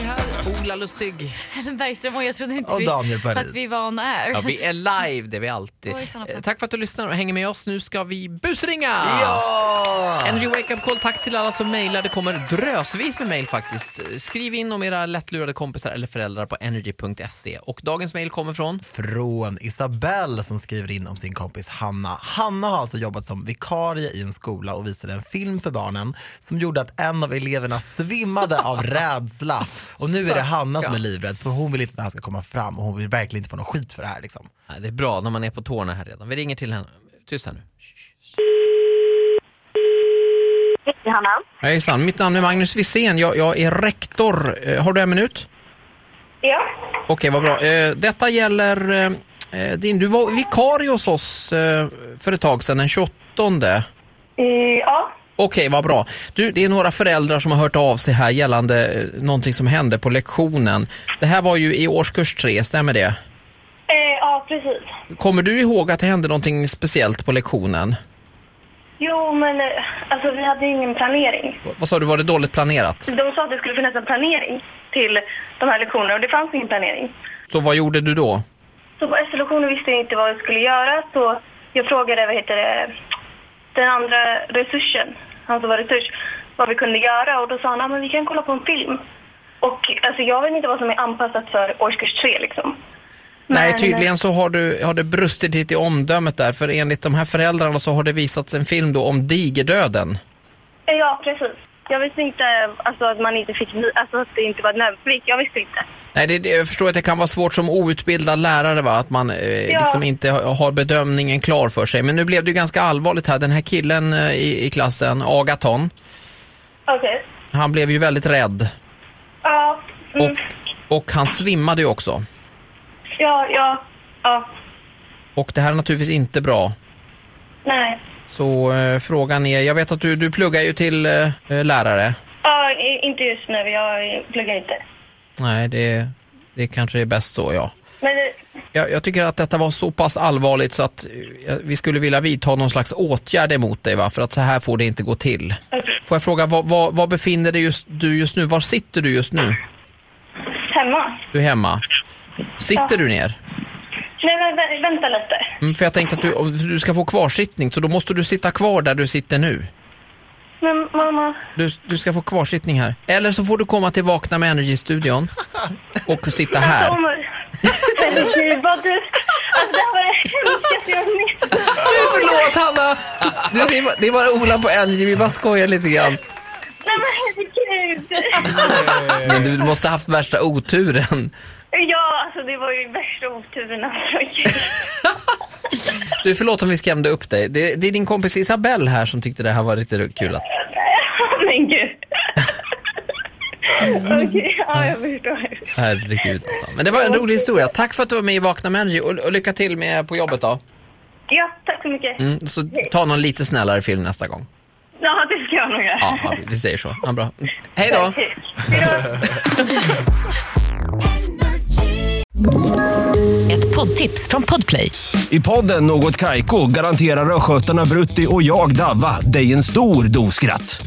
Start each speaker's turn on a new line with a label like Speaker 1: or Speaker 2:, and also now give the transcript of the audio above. Speaker 1: är här, Ola Lustig.
Speaker 2: Ellen Bergström och jag trodde inte
Speaker 3: Och
Speaker 2: vi,
Speaker 3: Daniel Paris.
Speaker 2: att vi var on air.
Speaker 1: Ja, vi är live, det är vi alltid.
Speaker 2: Oj, sanna fan.
Speaker 1: Eh, Tack för att du lyssnar och hänger med oss. Nu ska vi busringa!
Speaker 3: Ja!
Speaker 1: Energy Wake Up Call, tack till alla som mejlar. Det kommer drösvis med mejl faktiskt. Skriv in om era lättlurade kompisar eller föräldrar på energy.se. Och dagens mejl kommer från...
Speaker 3: Från Isabelle som skriver in om sin kompis Hanna. Hanna har alltså jobbat som vikarie i en skola och visade en film för barnen som gjorde att en av eleverna svimmade av rädsla. Och nu är det Hanna som är livrädd för hon vill inte att det här ska komma fram och hon vill verkligen inte få någon skit för det här. Liksom.
Speaker 1: Nej, det är bra när man är på tårna här redan. Vi ringer till henne. Tyst här nu.
Speaker 4: Hej Hanna.
Speaker 1: Hejsan, mitt namn är Magnus Wisén. Jag, jag är rektor. Eh, Har du en minut?
Speaker 4: Ja.
Speaker 1: Okej, vad bra. Eh, Detta gäller eh, eh, din... Du var vikarie hos oss eh, för ett tag sedan, den 28. Okej,
Speaker 4: Eh, ja.
Speaker 1: vad bra. Du, det är några föräldrar som har hört av sig här gällande eh, någonting som hände på lektionen. Det här var ju i årskurs tre, stämmer det?
Speaker 4: Eh, ja, precis.
Speaker 1: Kommer du ihåg att det hände någonting speciellt på lektionen?
Speaker 4: Jo, men eh, alltså vi hade ju ingen planering.
Speaker 1: Vad- Vad sa du, var det dåligt planerat?
Speaker 4: De sa att det skulle finnas en planering till de här lektionerna och det fanns ingen planering.
Speaker 1: Så vad gjorde du då?
Speaker 4: Så på SL-lektionen visste jag inte vad jag skulle göra så jag frågade, vad heter det, den andra resursen, han som var resurs, vad vi kunde göra och då sa han, ah, men vi kan kolla på en film. Och alltså jag vet inte vad som är anpassat för årskurs tre liksom.
Speaker 1: Nej,
Speaker 4: Men-
Speaker 1: tydligen så har, du, har det brustit lite i omdömet där, för enligt de här föräldrarna så har det visats en film då om digerdöden.
Speaker 4: Eh, Ja, precis. Jag visste inte alltså, att man inte fick, alltså att det inte var nödvändigt. Jag visste inte.
Speaker 1: Nej, det, det, jag förstår att det kan vara svårt som outbildad lärare, va? att man eh,
Speaker 4: Ja.
Speaker 1: liksom inte har har bedömningen klar för sig. Men nu blev det ju ganska allvarligt här. Den här killen eh, i, i klassen, Agaton,
Speaker 4: Okej.
Speaker 1: han blev ju väldigt rädd
Speaker 4: Ja. Mm.
Speaker 1: och, och han svimmade ju också.
Speaker 4: Ja, ja, ja.
Speaker 1: Och det här är naturligtvis inte bra.
Speaker 4: Nej.
Speaker 1: Så eh, frågan är, jag vet att du, du pluggar ju till eh, eh, lärare.
Speaker 4: Ja, i- inte just nu. Jag pluggar inte.
Speaker 1: Nej, det, det kanske är bäst så, ja.
Speaker 4: Men eh,
Speaker 1: Jag, jag tycker att detta var så pass allvarligt så att eh, vi skulle vilja vidta någon slags åtgärd emot dig, va? för att så här får det inte gå till.
Speaker 4: Okej.
Speaker 1: Får jag fråga, var, var, var befinner dig just, du just nu? Var sitter du just nu?
Speaker 4: hemma?
Speaker 1: Du är hemma. Sitter du ner?
Speaker 4: Nej, men vä- vänta lite.
Speaker 1: Mm, för jag tänkte att du, om du ska få kvarsittning, så då måste du sitta kvar där du sitter nu.
Speaker 4: Men mamma,
Speaker 1: Du, du ska få kvarsittning här. Eller så får du komma till Vakna med Energy-studion och sitta
Speaker 4: här.
Speaker 1: här.
Speaker 4: om... Herregud, vad du... Alltså, det här var det hemskaste jag har
Speaker 1: Förlåt Hanna! Du, det, är bara, det är bara Ola på Energy, vi bara skojar lite grann.
Speaker 4: Nej, men herregud!
Speaker 1: Men du måste ha haft värsta oturen.
Speaker 4: Ja, alltså det var ju värsta oturen. Alltså.
Speaker 1: Du, förlåt om vi skrämde upp dig. Det, det är din kompis Isabelle här som tyckte det här var lite kul. Att...
Speaker 4: Men gud.
Speaker 1: Mm.
Speaker 4: Okej, ja, jag förstår.
Speaker 1: Herregud alltså. Men det var en rolig historia. Tack för att du var med i Vakna med Energy och, och lycka till med på jobbet då.
Speaker 4: Ja, tack så mycket.
Speaker 1: Mm, så ta någon lite snällare film nästa gång.
Speaker 4: Ja, det ska jag nog göra.
Speaker 1: Ja, ja, vi- vi säger så. Ja, bra. Hej då!
Speaker 5: Ett poddtips från Podplay.
Speaker 6: I podden Något Kaiko garanterar östgötarna Brutti och jag, Davva, dig en stor dos skratt.